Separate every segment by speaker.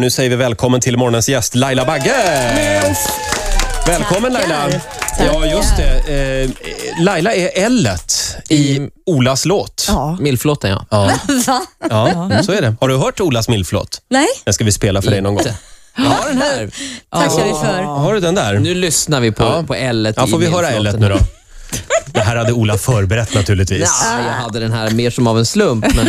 Speaker 1: Nu säger vi välkommen till morgonens gäst Laila Bagge. Välkommen Laila.
Speaker 2: Tackar.
Speaker 1: Ja, just det. Eh, Laila är l i Olas låt.
Speaker 2: Ja.
Speaker 3: Milflåten ja.
Speaker 1: Ja,
Speaker 2: Va?
Speaker 1: ja, så är det. Har du hört Olas milflåt?
Speaker 2: Nej,
Speaker 1: Den ska vi spela för dig någon gång.
Speaker 3: Inte. Jag har den här.
Speaker 2: tackar vi
Speaker 3: Ja.
Speaker 2: för.
Speaker 1: Har du den där?
Speaker 3: Nu lyssnar vi på,
Speaker 1: Ja.
Speaker 3: på L
Speaker 1: Ja, får vi höra l nu då? Det här hade Ola förberett naturligtvis.
Speaker 3: Ja, jag hade den här mer som av en slump. Men...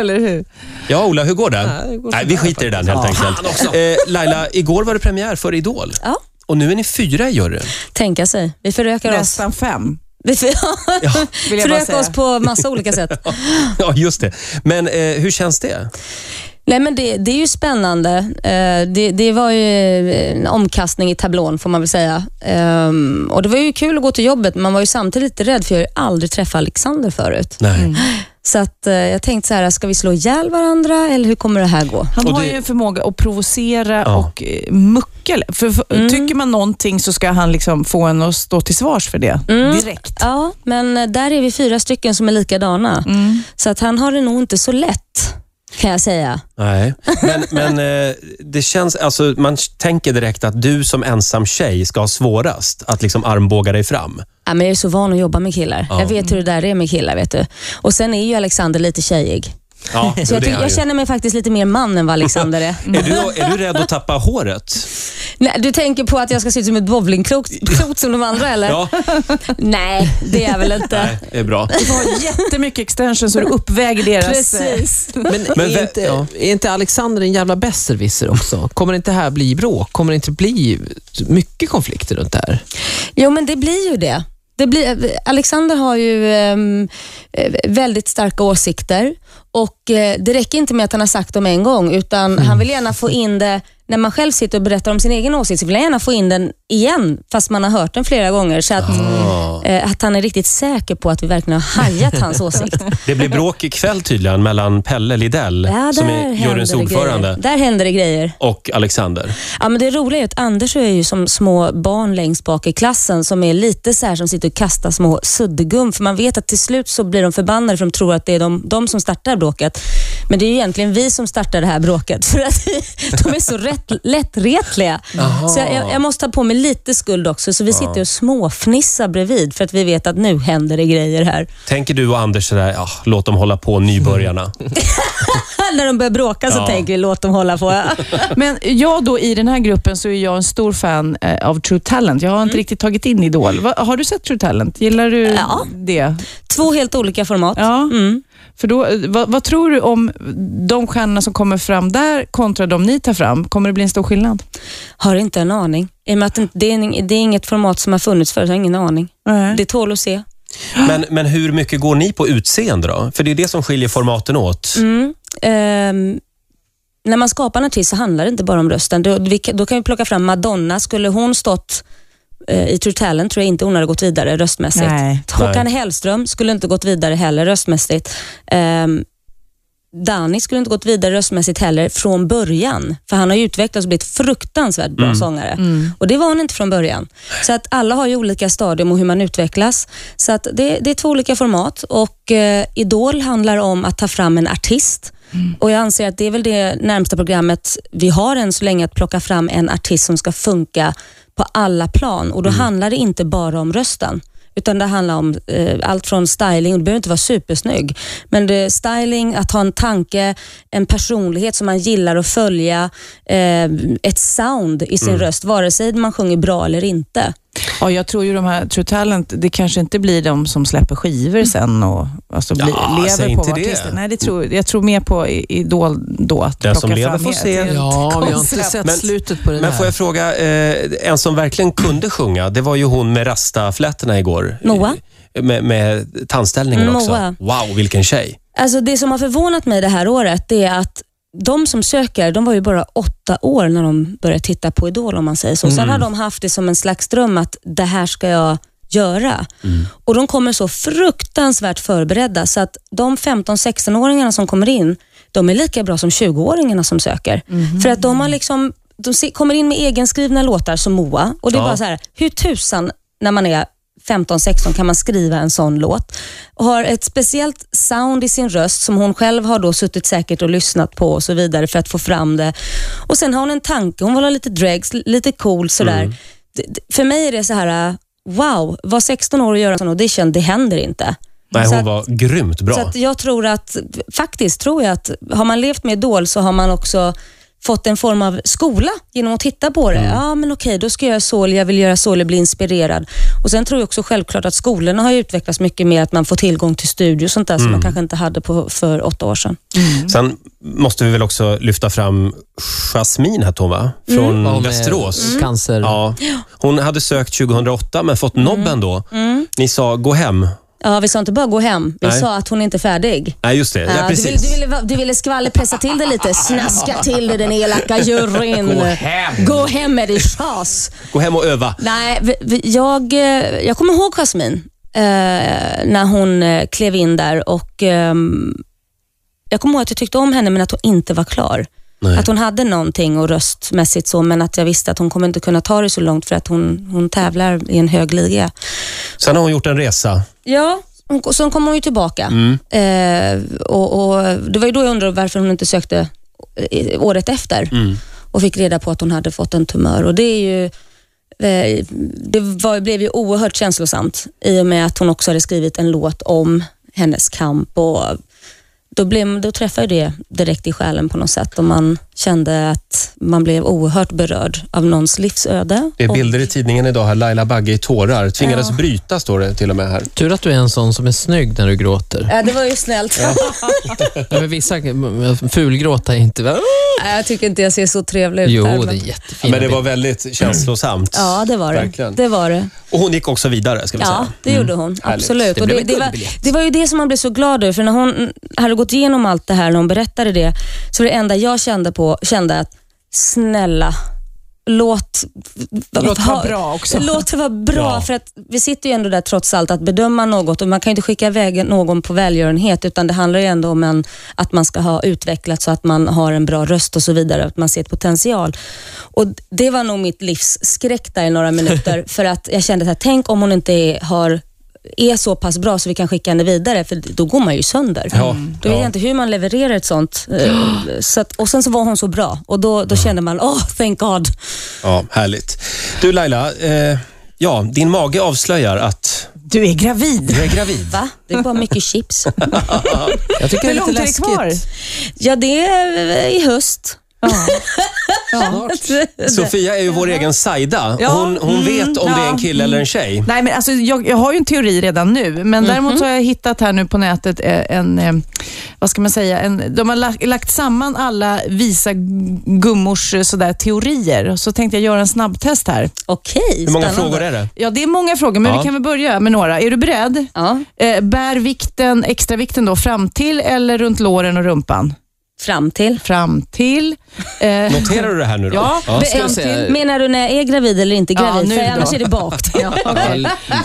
Speaker 4: Eller hur?
Speaker 1: Ja, Ola, hur går det?
Speaker 3: det går
Speaker 1: Nej, vi skiter i den helt enkelt. Eh, Laila, igår var det premiär för Idol.
Speaker 2: Ja.
Speaker 1: Och nu är ni fyra i juryn.
Speaker 2: Tänka sig. Vi förökar oss.
Speaker 4: Nästan fem.
Speaker 2: Vi för...
Speaker 4: Vill jag bara
Speaker 2: förökar
Speaker 4: säga.
Speaker 2: oss på massa olika sätt.
Speaker 1: Ja, just det. Men eh, hur känns det?
Speaker 2: Nej, men det, det är ju spännande. Eh, Det, det var ju eh, en omkastning i tablån får man väl säga. Ehm, Och Det var ju kul att gå till jobbet, men man var ju samtidigt lite rädd för jag har ju aldrig träffat Alexander förut.
Speaker 1: Nej.
Speaker 2: Så att eh, jag tänkte så här, ska vi slå ihjäl varandra eller hur kommer det här gå?
Speaker 4: Han
Speaker 1: Och
Speaker 4: har
Speaker 1: det-
Speaker 4: ju en förmåga att provocera
Speaker 1: Ja.
Speaker 4: och eh, muckel. För, för, Tycker man någonting så ska han liksom få en att stå till svars för det direkt.
Speaker 2: Ja, men eh, där är vi fyra stycken som är likadana.
Speaker 4: Mm.
Speaker 2: Så att han har det nog inte så lätt, kan jag säga.
Speaker 1: Nej, men, men eh, det känns, alltså, man tänker direkt att du som ensam tjej ska ha svårast att liksom armbåga dig fram.
Speaker 2: Ja, men jag är så van att jobba med killar. Jag vet hur det där är med killar. vet du. Och Sen är ju Alexander lite tjejig.
Speaker 1: Ja,
Speaker 2: Så jag, ty- jag känner mig faktiskt lite mer man än vad Alexander är.
Speaker 1: är, du, är du rädd att tappa håret?
Speaker 2: Nej, du tänker på att jag ska se ut som ett bowlingklot klot som de andra eller?
Speaker 1: Ja,
Speaker 2: Nej, det är jag väl inte.
Speaker 1: nej, det är bra.
Speaker 4: Du har jättemycket extension så du uppväger deras... eh,
Speaker 2: Precis.
Speaker 3: Men,
Speaker 1: Men vä-
Speaker 3: är, inte,
Speaker 1: ja.
Speaker 3: är inte Alexander en jävla besserwisser också? Kommer inte det här bli bråk? Kommer det inte bli mycket konflikter runt det här?
Speaker 2: Jo, men det blir ju det. det blir, Alexander har ju ehm, eh, väldigt starka åsikter och eh, det räcker inte med att han har sagt dem en gång utan han vill gärna få in det när man själv sitter och berättar om sin egen åsikt så vill han gärna få in den igen fast man har hört den flera gånger. Så att, eh, att han är riktigt säker på att vi verkligen har hajat hans åsikt.
Speaker 1: Det blir bråk ikväll tydligen mellan Pelle Lidell,
Speaker 2: Ja,
Speaker 1: som
Speaker 2: där
Speaker 1: är juryns
Speaker 2: händer det
Speaker 1: ordförande,
Speaker 2: grejer. Där händer det grejer.
Speaker 1: och Alexander.
Speaker 2: Ja, men det roliga är att Anders är ju som små barn längst bak i klassen som är lite så här som sitter och kastar små suddgum för man vet att till slut så blir de förbannade för de tror att det är de, de som startar bråket. Men det är ju egentligen vi som startar det här bråket för att de är så rätt, lättretliga. Så jag, jag, jag måste ta på mig lite skuld också så vi sitter och småfnissar bredvid för att vi vet att nu händer det grejer här.
Speaker 1: Tänker du och Anders sådär, ja, låt dem hålla på nybörjarna.
Speaker 2: När de börjar bråka så
Speaker 1: Ja.
Speaker 2: tänker vi låt dem hålla på.
Speaker 4: Men jag då i den här gruppen så är jag en stor fan eh, av True Talent. Jag har inte riktigt tagit in Idol. Va, har du sett True Talent? Gillar du
Speaker 2: Ja.
Speaker 4: det?
Speaker 2: Två helt olika format.
Speaker 4: Ja.
Speaker 2: Mm.
Speaker 4: För då, eh, vad, vad tror du om de stjärnorna som kommer fram där kontra de ni tar fram? Kommer det bli en stor skillnad?
Speaker 2: Har inte en aning. I och med att det inte- det är, ing- det är inget format som har funnits förut, så har jag ingen aning.
Speaker 4: Nej.
Speaker 2: Det tål att se.
Speaker 1: Men, men hur mycket går ni på utseende då? För det är det som skiljer formaten åt.
Speaker 2: Mm. Ehm, när man skapar en artist så handlar det inte bara om rösten. Då, vi, kan- då kan vi plocka fram Madonna. Skulle hon stått eh, i True Talent tror jag inte hon hade gått vidare röstmässigt.
Speaker 4: Nej.
Speaker 2: Håkan Hellström skulle inte gått vidare heller röstmässigt. Ehm, Danny skulle inte gått vidare röstmässigt heller från början. För han har ju utvecklats och blivit fruktansvärt bra sångare. Och det var han inte från början. Så att alla har ju olika stadium och hur man utvecklas. Så att det, det är två olika format och eh, Idol handlar om att ta fram en artist. Och jag anser att det är väl det närmsta programmet vi har än så länge, att plocka fram en artist som ska funka på alla plan. Och då handlar det inte bara om rösten. Utan det handlar om eh, allt från styling, du behöver inte vara supersnygg, men det, styling, att ha en tanke, en personlighet som man gillar att följa, eh, ett sound i sin röst, vare sig man sjunger bra eller inte.
Speaker 4: Ja, jag tror ju de här True Talent, det kanske inte blir de som släpper skivor sen och alltså, bli,
Speaker 1: Mm. Ja, säg
Speaker 4: lever
Speaker 1: inte
Speaker 4: på vad
Speaker 1: det.
Speaker 4: artister. Nej, det tror, jag tror mer på i- Idol då. Att
Speaker 1: Den som
Speaker 4: plocka
Speaker 1: lever
Speaker 4: fram
Speaker 1: får
Speaker 4: ett
Speaker 1: se.
Speaker 4: helt
Speaker 3: Ja, vi har inte
Speaker 4: koncept.
Speaker 3: sett
Speaker 1: Men-
Speaker 3: slutet på det
Speaker 1: Men
Speaker 3: där.
Speaker 1: får jag fråga, eh, en som verkligen kunde sjunga, det var ju hon med rastaflätorna igår.
Speaker 2: Moa?
Speaker 1: Eh, Med, med tandställningen
Speaker 2: Mm,
Speaker 1: också.
Speaker 2: Moa.
Speaker 1: Wow, vilken tjej.
Speaker 2: Alltså det som har förvånat mig det här året det är att de som söker, de var ju bara åtta år när de började titta på Idol om man säger så. Sen har de haft det som en slags dröm att det här ska jag göra. Och de kommer så fruktansvärt förberedda så att de 15-16-åringarna som kommer in, de är lika bra som 20-åringarna som söker. För att de har liksom, de se- kommer in med egenskrivna låtar som Moa och det är
Speaker 1: Ja.
Speaker 2: bara så här, hur tusan när man är 15-16 kan man skriva en sån låt. Har ett speciellt sound i sin röst som hon själv har då suttit säkert och lyssnat på och så vidare för att få fram det. Och Sen har hon en tanke, hon vill ha lite dregs, lite cool sådär. D- d- För mig är det så här, wow, var 16 år och göra en sån audition, det händer inte.
Speaker 1: Nej,
Speaker 2: Så
Speaker 1: hon
Speaker 2: att-
Speaker 1: var grymt bra.
Speaker 2: så att jag tror att, faktiskt tror jag att har man levt med Idol så har man också fått en form av skola genom att titta på det.
Speaker 1: Mm.
Speaker 2: Ja, men okej, då ska jag göra så, eller jag vill göra så, eller bli inspirerad. Och Sen tror jag också självklart att skolorna har ju utvecklats mycket mer, att man får tillgång till studios och sånt där
Speaker 1: Mm.
Speaker 2: som man kanske inte hade på, för åtta år sedan.
Speaker 1: Sen måste vi väl också lyfta fram Jasmine hette hon, va?
Speaker 2: Mm.
Speaker 1: Från
Speaker 3: Om, eh,
Speaker 1: Västerås.
Speaker 4: Mm.
Speaker 3: Cancer.
Speaker 1: Ja. Hon hade sökt 2008 men
Speaker 2: Mm.
Speaker 1: fått nobben då. Ni sa gå hem.
Speaker 2: Ja, vi sa inte bara gå hem, vi
Speaker 1: Nej.
Speaker 2: sa att hon inte är färdig.
Speaker 1: Nej, just det. Ja,
Speaker 2: Ja, du, ville,
Speaker 1: precis.
Speaker 2: du, ville, va- du ville skvallerpressa till det lite, snaska till det den elaka juryn. Gå hem! Gå hem med ditt tjas!
Speaker 1: Gå hem och öva.
Speaker 2: Nej, vi- vi- jag, eh, jag kommer ihåg Jasmine eh, när hon eh, klev in där och ehm, jag kommer ihåg att jag tyckte om henne men att hon inte var klar.
Speaker 1: Nej.
Speaker 2: Att hon hade någonting och röstmässigt så men att jag visste att hon kommer inte kunna ta det så långt för att hon, hon tävlar i en hög liga.
Speaker 1: Sen har hon gjort en resa.
Speaker 2: Ja, hon, sen kom hon ju tillbaka. Eh, och, och Det var ju då jag undrade varför hon inte sökte eh, i- året efter och fick reda på att hon hade fått en tumör. Och det är ju eh, det var, blev ju oerhört känslosamt i och med att hon också hade skrivit en låt om hennes kamp. Och då, blev, då träffade det direkt i själen på något sätt och man kände att man blev oerhört berörd av någons livsöde.
Speaker 1: Det är
Speaker 2: Och-
Speaker 1: bilder i tidningen idag här. Laila Bagge i tårar. Tvingades bryta, står det till och med här.
Speaker 3: Tur att du är en sån som är snygg när du gråter.
Speaker 2: Ja, det var ju snällt.
Speaker 3: Ja, men vissa fulgråta är inte...
Speaker 2: Nej, jag tycker inte jag ser så trevlig ut
Speaker 3: Jo,
Speaker 2: här,
Speaker 3: det är
Speaker 2: men-
Speaker 3: jättefina
Speaker 1: Men det var
Speaker 3: bilder.
Speaker 1: väldigt känslosamt.
Speaker 2: Ja, det var det.
Speaker 1: Verkligen.
Speaker 2: Det var det.
Speaker 1: Och hon gick också vidare, ska vi
Speaker 2: Ja,
Speaker 1: säga.
Speaker 2: det gjorde hon. Absolut.
Speaker 3: Det
Speaker 2: och det,
Speaker 3: blev en
Speaker 2: det, var,
Speaker 3: guldbiljett.
Speaker 2: det var ju det som man blev så glad över, för när hon hade gått igenom allt det här, när hon berättade det, så var det enda jag kände på, kände att snälla, låt...
Speaker 4: Låt det
Speaker 2: ha-
Speaker 4: vara bra också.
Speaker 2: Låt det vara bra,
Speaker 1: Ja.
Speaker 2: för att vi sitter ju ändå där trots allt att bedöma något och man kan ju inte skicka iväg någon på välgörenhet, utan det handlar ju ändå om en, att man ska ha utvecklats så att man har en bra röst och så vidare, att man ser ett potential. Och Det var nog mitt livs skräck där i några minuter, för att jag kände att tänk om hon inte är, har är så pass bra så vi kan skicka henne vidare, för då går man ju sönder. Mm.
Speaker 1: Ja,
Speaker 2: Då vet
Speaker 1: ja.
Speaker 2: jag inte hur man levererar ett sånt. eh, Så att, och Sen så var hon så bra och då, då kände man, oh thank God.
Speaker 1: Ja, härligt. Du Laila, eh, ja, din mage avslöjar att
Speaker 4: Du är gravid.
Speaker 1: du är gravid.
Speaker 2: Va? Det är bara mycket chips.
Speaker 3: Jag tycker
Speaker 4: Hur
Speaker 3: det är
Speaker 4: långt
Speaker 3: lite
Speaker 4: är det
Speaker 3: läskigt.
Speaker 4: kvar?
Speaker 2: Ja, det är eh, i höst.
Speaker 1: Sofia är ju vår egen Saida.
Speaker 4: Ja,
Speaker 1: Hon, hon vet om
Speaker 4: mm,
Speaker 1: det är en
Speaker 4: ja,
Speaker 1: kille eller en tjej.
Speaker 2: Mm.
Speaker 4: Nej, men alltså, jag, jag har ju en teori redan nu, men däremot
Speaker 3: Mhm.
Speaker 4: så har jag hittat här nu på nätet eh, en, eh, vad ska man säga, en, de har lagt, lagt samman alla visa gummors eh, sådär, teorier. Så tänkte jag göra en snabbtest här.
Speaker 2: Okej,
Speaker 1: Hur många
Speaker 2: spännande.
Speaker 1: frågor är det?
Speaker 4: Ja, det är många frågor, men
Speaker 1: Ja.
Speaker 4: vi kan väl börja med några. Är du beredd?
Speaker 2: Ja,
Speaker 4: Eh, bär vikten, extra vikten då, fram till eller runt låren och rumpan?
Speaker 2: fram till.
Speaker 4: Fram till. Eh,
Speaker 1: Noterar du det här nu då?
Speaker 4: Ja.
Speaker 3: ska jag
Speaker 2: Fram
Speaker 3: säga-
Speaker 2: till. Menar du när jag är gravid eller inte
Speaker 4: Ja,
Speaker 2: gravid?
Speaker 4: nu
Speaker 2: För
Speaker 4: då.
Speaker 2: annars är det bakt.
Speaker 3: Ja,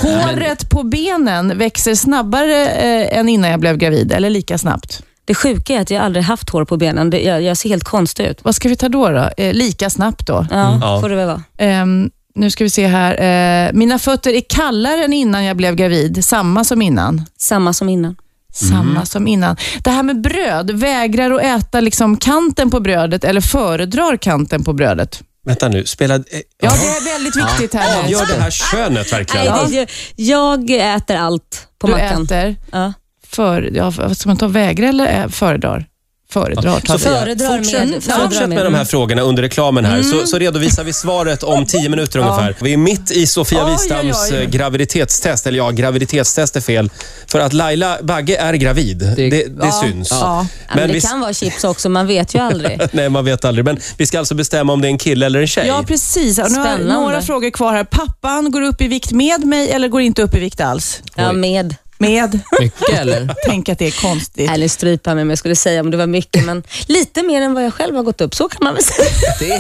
Speaker 4: Håret på benen växer snabbare eh, än innan jag blev gravid, eller lika snabbt?
Speaker 2: Det sjuka är att jag aldrig haft hår på benen. Det, jag, jag ser helt konstig ut.
Speaker 4: Vad ska vi ta då? då? Eh, lika snabbt då.
Speaker 2: Ja,
Speaker 1: Mm. Ja.
Speaker 2: får det väl vara.
Speaker 4: Ehm, nu ska vi se här. Eh, mina fötter är kallare än innan jag blev gravid. Samma som innan.
Speaker 2: Samma som innan.
Speaker 4: Samma som innan. Det här med bröd. Vägrar att äta liksom kanten på brödet eller föredrar kanten på brödet?
Speaker 1: Vänta nu, spelad... eh,
Speaker 4: Ja, det är väldigt viktigt här. nu.
Speaker 1: Avgör det här könet verkligen?
Speaker 2: Nej, det, jag, jag äter allt på
Speaker 4: Du
Speaker 2: mackan.
Speaker 4: äter
Speaker 2: Ja.
Speaker 4: för... Ja, vad ska man ta? Vägra eller ä- föredrar? Föredrar tar
Speaker 1: Så
Speaker 4: vi.
Speaker 2: Föredrar
Speaker 1: Fortsätt, Mm,
Speaker 2: med, föredrar
Speaker 1: fortsätt med de här frågorna under reklamen här, så, så redovisar vi svaret om 10 minuter ungefär. Vi är mitt i Sofia
Speaker 4: Oj, oj,
Speaker 1: Wistams
Speaker 4: oj.
Speaker 1: eh, graviditetstest, eller ja, graviditetstest är fel. För att Laila Bagge är gravid, det, det, syns.
Speaker 4: Ja.
Speaker 2: Ja, men
Speaker 1: Men
Speaker 2: det
Speaker 1: vi-
Speaker 2: kan vara chips också, man vet ju aldrig.
Speaker 1: Nej, man vet aldrig. Men vi ska alltså bestämma om det är en kille eller en tjej.
Speaker 4: Ja, precis. Och Nu har jag
Speaker 2: Spännande.
Speaker 4: några frågor kvar här. Pappan går upp i vikt med mig eller går inte upp i vikt alls?
Speaker 2: Ja, med.
Speaker 4: Med.
Speaker 3: Mycket eller?
Speaker 4: Tänk att det är konstigt.
Speaker 2: Eller strypa mig om jag skulle säga om det var mycket, men lite mer än vad jag själv har gått upp. Så kan man väl säga.
Speaker 3: Det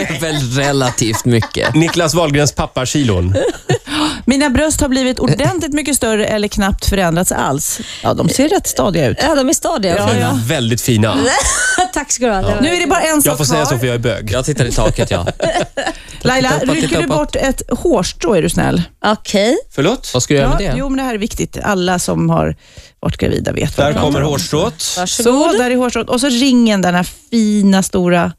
Speaker 3: är väl relativt mycket.
Speaker 1: Niklas Wahlgrens pappakilon.
Speaker 4: Mina bröst har blivit ordentligt mycket större eller knappt förändrats alls. Ja, de ser rätt stadiga ut.
Speaker 2: Ja, de är stadiga. och fina.
Speaker 1: Väldigt fina.
Speaker 2: Tack ska du ha. Det var-
Speaker 4: Nu är det bara en sak
Speaker 1: Jag får säga så
Speaker 4: kvar.
Speaker 1: för jag är bög.
Speaker 5: Jag tittar i taket, ja.
Speaker 4: Laila,
Speaker 3: Titta uppåt, titta
Speaker 4: rycker du
Speaker 3: uppåt.
Speaker 4: bort ett hårstrå är du snäll?
Speaker 2: Okej.
Speaker 1: Förlåt?
Speaker 3: Vad ska du göra
Speaker 4: Ja,
Speaker 3: med det?
Speaker 4: jo, men det här är viktigt. Alla som har varit gravida vet vad
Speaker 1: Där
Speaker 4: det handlar
Speaker 1: kommer
Speaker 4: om.
Speaker 1: hårstrået.
Speaker 4: Så, där är hårstrået. Och så ringen, den här fina stora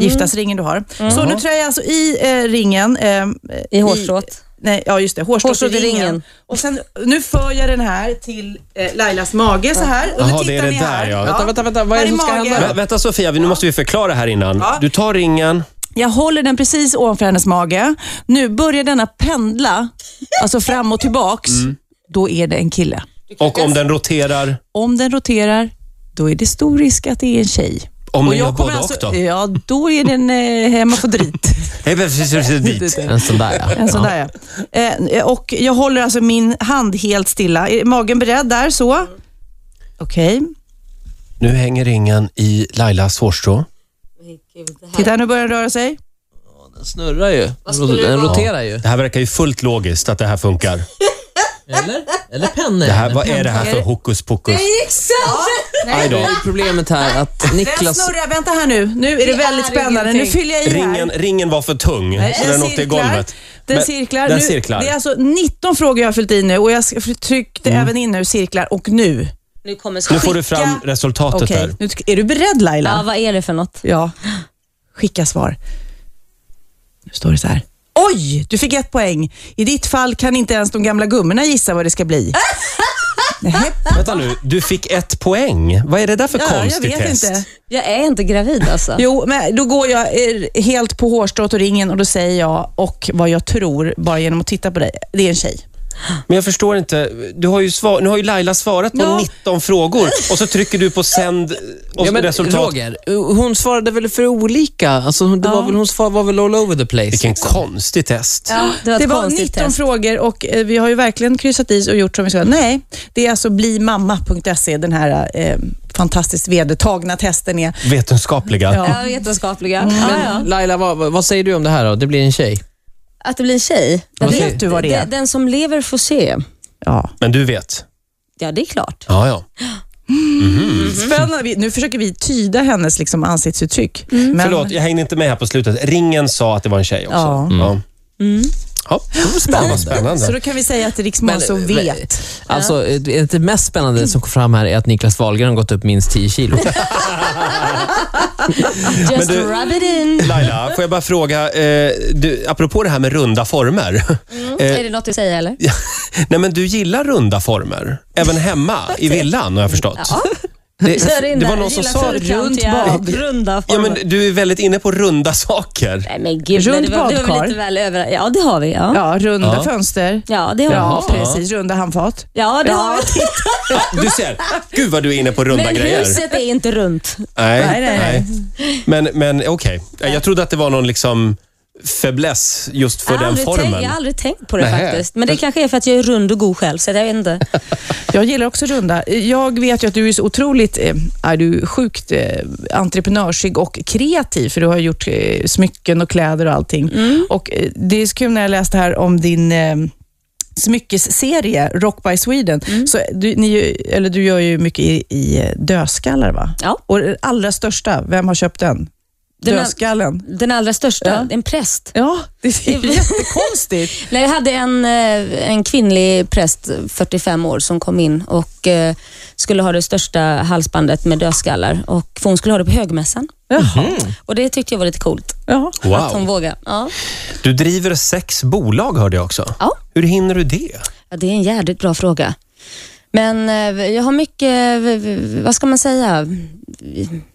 Speaker 4: giftasringen du har. Så nu trär jag alltså i eh, ringen. Eh,
Speaker 2: I hårstrået.
Speaker 4: nej, ja, just det. Hårstrået
Speaker 2: Hårstrået
Speaker 4: i
Speaker 2: i
Speaker 4: ringen.
Speaker 2: ringen.
Speaker 4: Och sen, nu för jag den här till eh, Lailas mage så här. Och nu
Speaker 1: Jaha, det
Speaker 4: tittar
Speaker 1: är det
Speaker 4: ni
Speaker 1: där,
Speaker 4: här.
Speaker 1: ja.
Speaker 3: Vänta, vänta, vänta. Vad
Speaker 4: Här
Speaker 3: är det som ska
Speaker 4: magen.
Speaker 3: hända?
Speaker 1: Vä- vänta Sofia, vi- nu måste vi förklara här innan.
Speaker 4: Ja.
Speaker 1: Du tar ringen.
Speaker 4: Jag håller den precis ovanför hennes mage. Nu börjar denna pendla, alltså fram och tillbaks.
Speaker 1: Mm.
Speaker 4: Då är det en kille.
Speaker 1: Och om den roterar,
Speaker 4: Om den roterar, då är det stor risk att det är en tjej.
Speaker 1: om
Speaker 4: Och
Speaker 1: den gör
Speaker 4: jag kommer
Speaker 1: både
Speaker 4: alltså,
Speaker 1: och då?
Speaker 4: Ja, då är den eh, hemafodrit.
Speaker 1: Hej, precis, precis, dit.
Speaker 3: En sån där ja.
Speaker 4: en sån där ja. Eh, och jag håller alltså min hand helt stilla. Är magen beredd där så? Okej.
Speaker 1: Nu hänger ringen i Lailas hårstrå.
Speaker 4: Titta, nu börjar den röra sig.
Speaker 3: Den snurrar ju.
Speaker 2: skulle det
Speaker 3: Den
Speaker 2: vara?
Speaker 3: roterar ju.
Speaker 1: Det här verkar ju fullt logiskt att det här funkar.
Speaker 3: Eller? Eller pennor.
Speaker 1: Det här, vad är det här för hokus pokus? Aj då.
Speaker 3: Problemet här att
Speaker 4: Den
Speaker 3: Niklas...
Speaker 4: snurrar. Vänta här nu. Nu är det, väldigt
Speaker 2: är
Speaker 4: spännande. Nu
Speaker 2: ingenting.
Speaker 4: fyller jag i här. Eh,
Speaker 1: Ringen, ringen var för tung, så den åkte i golvet.
Speaker 4: Den
Speaker 1: Men-
Speaker 4: cirklar.
Speaker 1: Den
Speaker 4: nu,
Speaker 1: cirklar.
Speaker 4: Det är alltså 19 frågor jag har fyllt i nu och jag sk- tryckte
Speaker 1: Mm.
Speaker 4: även in nu cirklar och nu.
Speaker 2: Nu kommer
Speaker 1: Nu
Speaker 2: skit.
Speaker 1: får du fram
Speaker 4: Skicka-
Speaker 1: resultatet
Speaker 4: Okej,
Speaker 1: där.
Speaker 4: nu sk- är du beredd Laila?
Speaker 2: Ja, vad är det för något?
Speaker 4: Ja. Skicka svar. Nu står det så här. Oj, du fick ett poäng. I ditt fall kan inte ens de gamla gummorna gissa vad det ska bli. Nej,
Speaker 1: Vänta nu, du fick ett poäng. Vad är det där för
Speaker 4: ja, jag
Speaker 1: konstigt
Speaker 4: vet
Speaker 1: test?
Speaker 4: inte.
Speaker 2: Jag är inte gravid alltså.
Speaker 4: Jo, men då går jag eh, helt på hårstrået och ringen och då säger jag och vad jag tror bara genom att titta på dig. Det är en tjej.
Speaker 1: Men jag förstår inte. Du har ju svar, nu har ju Laila svarat på
Speaker 4: Ja.
Speaker 1: 19 frågor och så trycker du på sänd och
Speaker 3: Ja, men
Speaker 1: resultat.
Speaker 3: Roger, hon svarade väl för olika? Alltså, hon- det var väl, hon svar var väl all over the place.
Speaker 1: Vilken konstig test.
Speaker 2: Det var ett
Speaker 4: det var 19
Speaker 2: konstigt test.
Speaker 4: frågor och eh, vi har ju verkligen kryssat i och gjort som vi ska. Nej, det är alltså blimamma.se, den här eh, fantastiskt vedertagna testen är.
Speaker 1: Vetenskapliga.
Speaker 4: Ja.
Speaker 2: Ja, vetenskapliga. Ja, ja.
Speaker 3: Laila, vad, vad säger du om det här då? Det blir en tjej.
Speaker 2: Att det blir en tjej.
Speaker 4: Vad
Speaker 2: Den-
Speaker 4: vet du vad det är?
Speaker 2: den- Den som lever får se.
Speaker 4: Ja.
Speaker 1: Men du vet.
Speaker 2: Ja, det är klart.
Speaker 1: Ja, ja. Mhm.
Speaker 4: Spännande. Vi- Nu försöker vi tyda hennes liksom, ansiktsuttryck.
Speaker 2: Mm.
Speaker 4: Men,
Speaker 1: Förlåt, jag hängde inte med här på slutet. Ringen sa att det var en tjej också.
Speaker 4: Ja.
Speaker 1: Ja.
Speaker 2: Mm.
Speaker 1: Ja, det var spännande. Vad
Speaker 4: Så
Speaker 1: spännande.
Speaker 4: då kan vi säga att Riksmonså
Speaker 3: Men-
Speaker 1: eh,
Speaker 4: vet.
Speaker 3: Alltså, det det mest spännande som kom fram här är att Niklas Wahlgren har gått upp minst 10 kilo.
Speaker 2: Just
Speaker 1: du-
Speaker 2: rub it in.
Speaker 1: Laila, får jag bara fråga, eh, du, apropå det här med runda former. Eh,
Speaker 2: Är det något du säger eller?
Speaker 1: Nej, men du gillar runda former, även hemma i villan har jag förstått.
Speaker 2: Ja. Kör
Speaker 1: Det,
Speaker 2: in
Speaker 1: det var
Speaker 2: där.
Speaker 1: någon som
Speaker 2: Gillar
Speaker 1: sa...
Speaker 2: fyrkantiga,
Speaker 4: bad.
Speaker 2: Runda
Speaker 1: Ja,
Speaker 2: former.
Speaker 1: men du är väldigt inne på runda saker.
Speaker 2: Nej men gud,
Speaker 4: Rund
Speaker 2: det var, det var
Speaker 4: badkar.
Speaker 2: väl lite väl över... Ja, det har vi. Ja, ja.
Speaker 4: Ja, runda
Speaker 1: Ja.
Speaker 4: fönster.
Speaker 2: det har
Speaker 4: Ja,
Speaker 2: vi.
Speaker 4: precis. Runda handfat.
Speaker 2: Ja, det
Speaker 4: Ja.
Speaker 2: har vi.
Speaker 1: Du ser, gud vad du är inne på runda
Speaker 2: Men
Speaker 1: grejer.
Speaker 2: huset är inte runt.
Speaker 1: Nej,
Speaker 4: Nej, nej, nej.
Speaker 1: Men, men okej, jag trodde att det var någon liksom fäbless just för
Speaker 2: jag, har
Speaker 1: den
Speaker 2: aldrig
Speaker 1: formen.
Speaker 2: tänkt- jag har aldrig tänkt på det
Speaker 1: Nähä.
Speaker 2: faktiskt. Men det kanske är för att jag är rund och god själv, så att jag vet inte.
Speaker 4: Jag gillar också runda. Jag vet ju att du är så otroligt eh, är du sjukt eh, entreprenörsig och kreativ, för du har gjort eh, smycken och kläder och allting. Och eh, det är så kul när jag läste här om din eh, smyckesserie Rock by Sweden. Så du, ni, ju- eller du gör ju mycket i, i eh, dödskallar, va?
Speaker 2: Ja.
Speaker 4: Och den allra största, vem har köpt den?
Speaker 2: Den har-
Speaker 4: Dödskallen.
Speaker 2: Den allra största, en präst.
Speaker 4: Ja, det är jättekonstigt.
Speaker 2: Nej, jag hade en, eh, en kvinnlig präst, 45 år, som kom in och eh, skulle ha det största halsbandet med dödskallar. Och, för hon skulle ha det på högmässan.
Speaker 4: Jaha.
Speaker 2: Och det tyckte jag var lite coolt.
Speaker 4: Ja.
Speaker 2: Att hon
Speaker 1: Wow.
Speaker 2: vågade. Ja.
Speaker 1: Du driver sex bolag hörde jag också.
Speaker 2: Ja.
Speaker 1: Hur hinner du det?
Speaker 2: Ja, det är en jävligt bra fråga. Men eh, jag har mycket, v- v- vad ska man säga?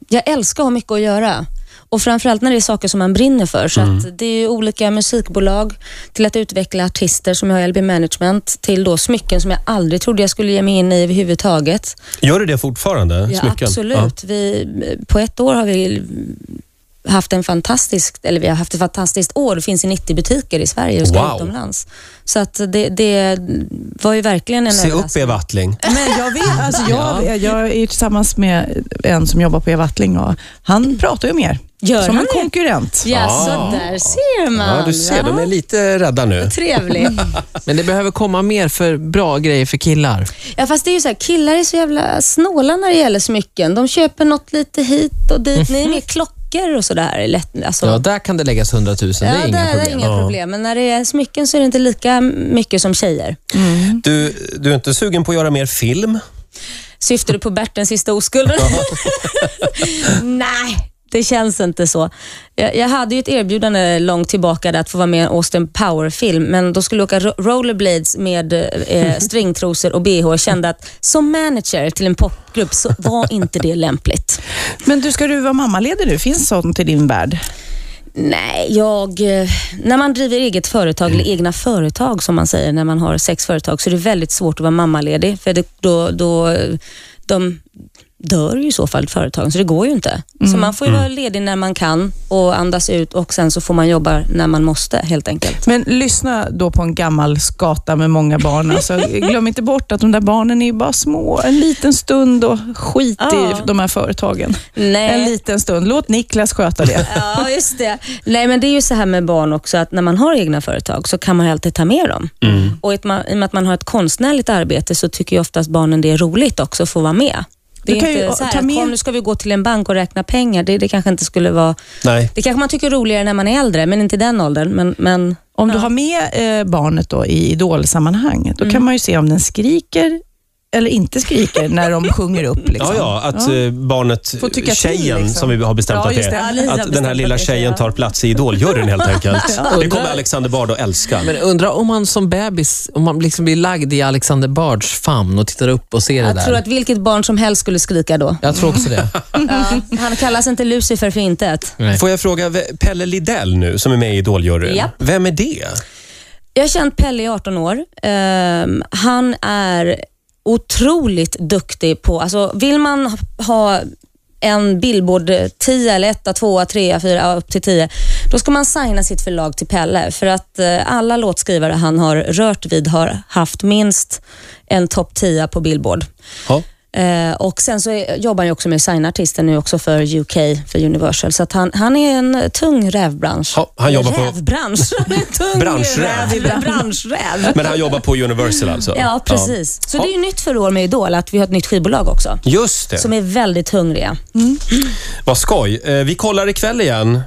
Speaker 2: Jag älskar att ha mycket att göra. Och framförallt när det är saker som man brinner för. Så att det är ju olika musikbolag, till att utveckla artister som jag har i LB Management, till då smycken som jag aldrig trodde jag skulle ge mig in i överhuvudtaget.
Speaker 1: Gör du det fortfarande?
Speaker 2: Ja,
Speaker 1: smycken?
Speaker 2: absolut.
Speaker 1: Ja.
Speaker 2: Vi, på ett år har vi haft en fantastisk, eller vi har haft ett fantastiskt år. Det finns i 90 butiker i Sverige och ska
Speaker 1: Wow.
Speaker 2: utomlands. Så att det, det var ju verkligen en
Speaker 1: Se upp
Speaker 2: överraskning.
Speaker 1: Eva Attling.
Speaker 4: Men jag, vet, alltså jag, jag är ju tillsammans med en som jobbar på Eva Attling och han pratar ju om er.
Speaker 2: Gör
Speaker 4: Som
Speaker 2: han
Speaker 4: en
Speaker 2: det?
Speaker 4: konkurrent.
Speaker 2: Ja,
Speaker 1: Ah.
Speaker 2: så där ser man.
Speaker 1: Ja, du ser,
Speaker 2: va?
Speaker 1: de är lite rädda nu.
Speaker 2: Trevligt.
Speaker 3: Men det behöver komma mer för bra grejer för killar.
Speaker 2: Ja, fast det är ju så här, killar är så jävla snåla när det gäller smycken. De köper något lite hit och dit. Ni är mer klockor och sådär. Lätt, alltså.
Speaker 3: Ja, där kan det läggas 100 000. det är
Speaker 2: Ja,
Speaker 3: inga
Speaker 2: där är
Speaker 3: problem.
Speaker 2: inga problem. Men när det är smycken så är det inte lika mycket som tjejer.
Speaker 1: Du, du är inte sugen på att göra mer film?
Speaker 2: Syftar du på Bert den sista oskulden? Nej, det känns inte så. Jag, jag hade ju ett erbjudande långt tillbaka där att få vara med i en Austin Power-film, men då skulle jag åka ro- rollerblades med eh, stringtrosor och bh och kände att som manager till en popgrupp så var inte det lämpligt.
Speaker 4: Men du, ska du vara mammaledig nu? Finns sånt i din värld?
Speaker 2: Nej, jag... eh, När man driver eget företag, eller
Speaker 4: Mm.
Speaker 2: egna företag som man säger, när man har sex företag, så är det väldigt svårt att vara mammaledig. För det, då, då, eh, de dör ju i så fall företagen, så det går ju inte.
Speaker 4: Mm.
Speaker 2: Så man får ju vara ledig när man kan och andas ut och sen så får man jobba när man måste helt enkelt.
Speaker 4: Men lyssna då på en gammal skata med många barn. Alltså, glöm inte bort att de där barnen är ju bara små. En liten stund och skit
Speaker 2: Ja.
Speaker 4: i de här företagen.
Speaker 2: Nej.
Speaker 4: En liten stund. Låt Niklas sköta det.
Speaker 2: Ja, just det. Nej, men det är ju så här med barn också, att när man har egna företag så kan man ju alltid ta med dem.
Speaker 3: Mm.
Speaker 2: Och i ett ma- i och med att man har ett konstnärligt arbete så tycker ju oftast barnen det är roligt också att få vara med. Det
Speaker 4: Du
Speaker 2: är
Speaker 4: kan
Speaker 2: inte
Speaker 4: ju
Speaker 2: så
Speaker 4: ta
Speaker 2: här,
Speaker 4: med-
Speaker 2: kom nu ska vi gå till en bank och räkna pengar. Det, det kanske inte skulle vara...
Speaker 1: Nej.
Speaker 2: Det kanske man tycker är roligare när man är äldre, men inte i den åldern. Men, men
Speaker 4: Om du har med eh, barnet då i idolsammanhang, då kan man ju se om den skriker eller inte skriker när de sjunger upp. Liksom.
Speaker 1: Ja, ja, att eh, barnet,
Speaker 4: Får tycka till,
Speaker 1: tjejen
Speaker 4: liksom.
Speaker 1: som vi har bestämt
Speaker 4: Ja,
Speaker 1: att det
Speaker 4: just det.
Speaker 1: är,
Speaker 2: Ja, ni har
Speaker 1: att den
Speaker 2: bestämt
Speaker 1: här
Speaker 2: att
Speaker 1: lilla
Speaker 2: det är,
Speaker 1: tjjejen
Speaker 2: ja.
Speaker 1: tar plats i Idoljuryn helt enkelt. Det kommer
Speaker 3: undrar-
Speaker 1: Alexander Bard att älska.
Speaker 3: Men undra om man som bebis, om man liksom blir lagd i Alexander Bards famn och tittar upp och ser det
Speaker 2: jag
Speaker 3: där.
Speaker 2: tror att vilket barn som helst skulle skrika då.
Speaker 3: Jag tror också det.
Speaker 2: Ja. Han kallas inte Lucifer för intet.
Speaker 3: Nej.
Speaker 1: Får jag fråga v- Pelle Lidell nu, som är med i Idoljuryn.
Speaker 2: Japp.
Speaker 1: Vem är det?
Speaker 2: Jag har känt Pelle i 18 år. Ehm, han är otroligt duktig på, alltså vill man ha- ha en Billboard 10 eller 1, 2, 3, 4, ja, upp till 10. Då ska man signa sitt förlag till Pelle för att eh, alla låtskrivare han har rört vid har haft minst en topp 10 på Billboard.
Speaker 1: Ja.
Speaker 2: Eh, och Sen så är, jobbar han ju också med signartister nu också för UK, för Universal. Så att han, han är en eh, tung rävbransch.
Speaker 1: Ja, han jobbar på-
Speaker 2: rävbransch? tung
Speaker 1: Branschräv.
Speaker 2: räv. Branschräv.
Speaker 1: Men han jobbar på Universal alltså?
Speaker 2: Ja, precis. Så det är ju nytt för år med Idol att vi har ett nytt skivbolag också,
Speaker 1: Just det.
Speaker 2: som är väldigt hungriga.
Speaker 1: Vad skoj. Eh, Vi kollar ikväll igen.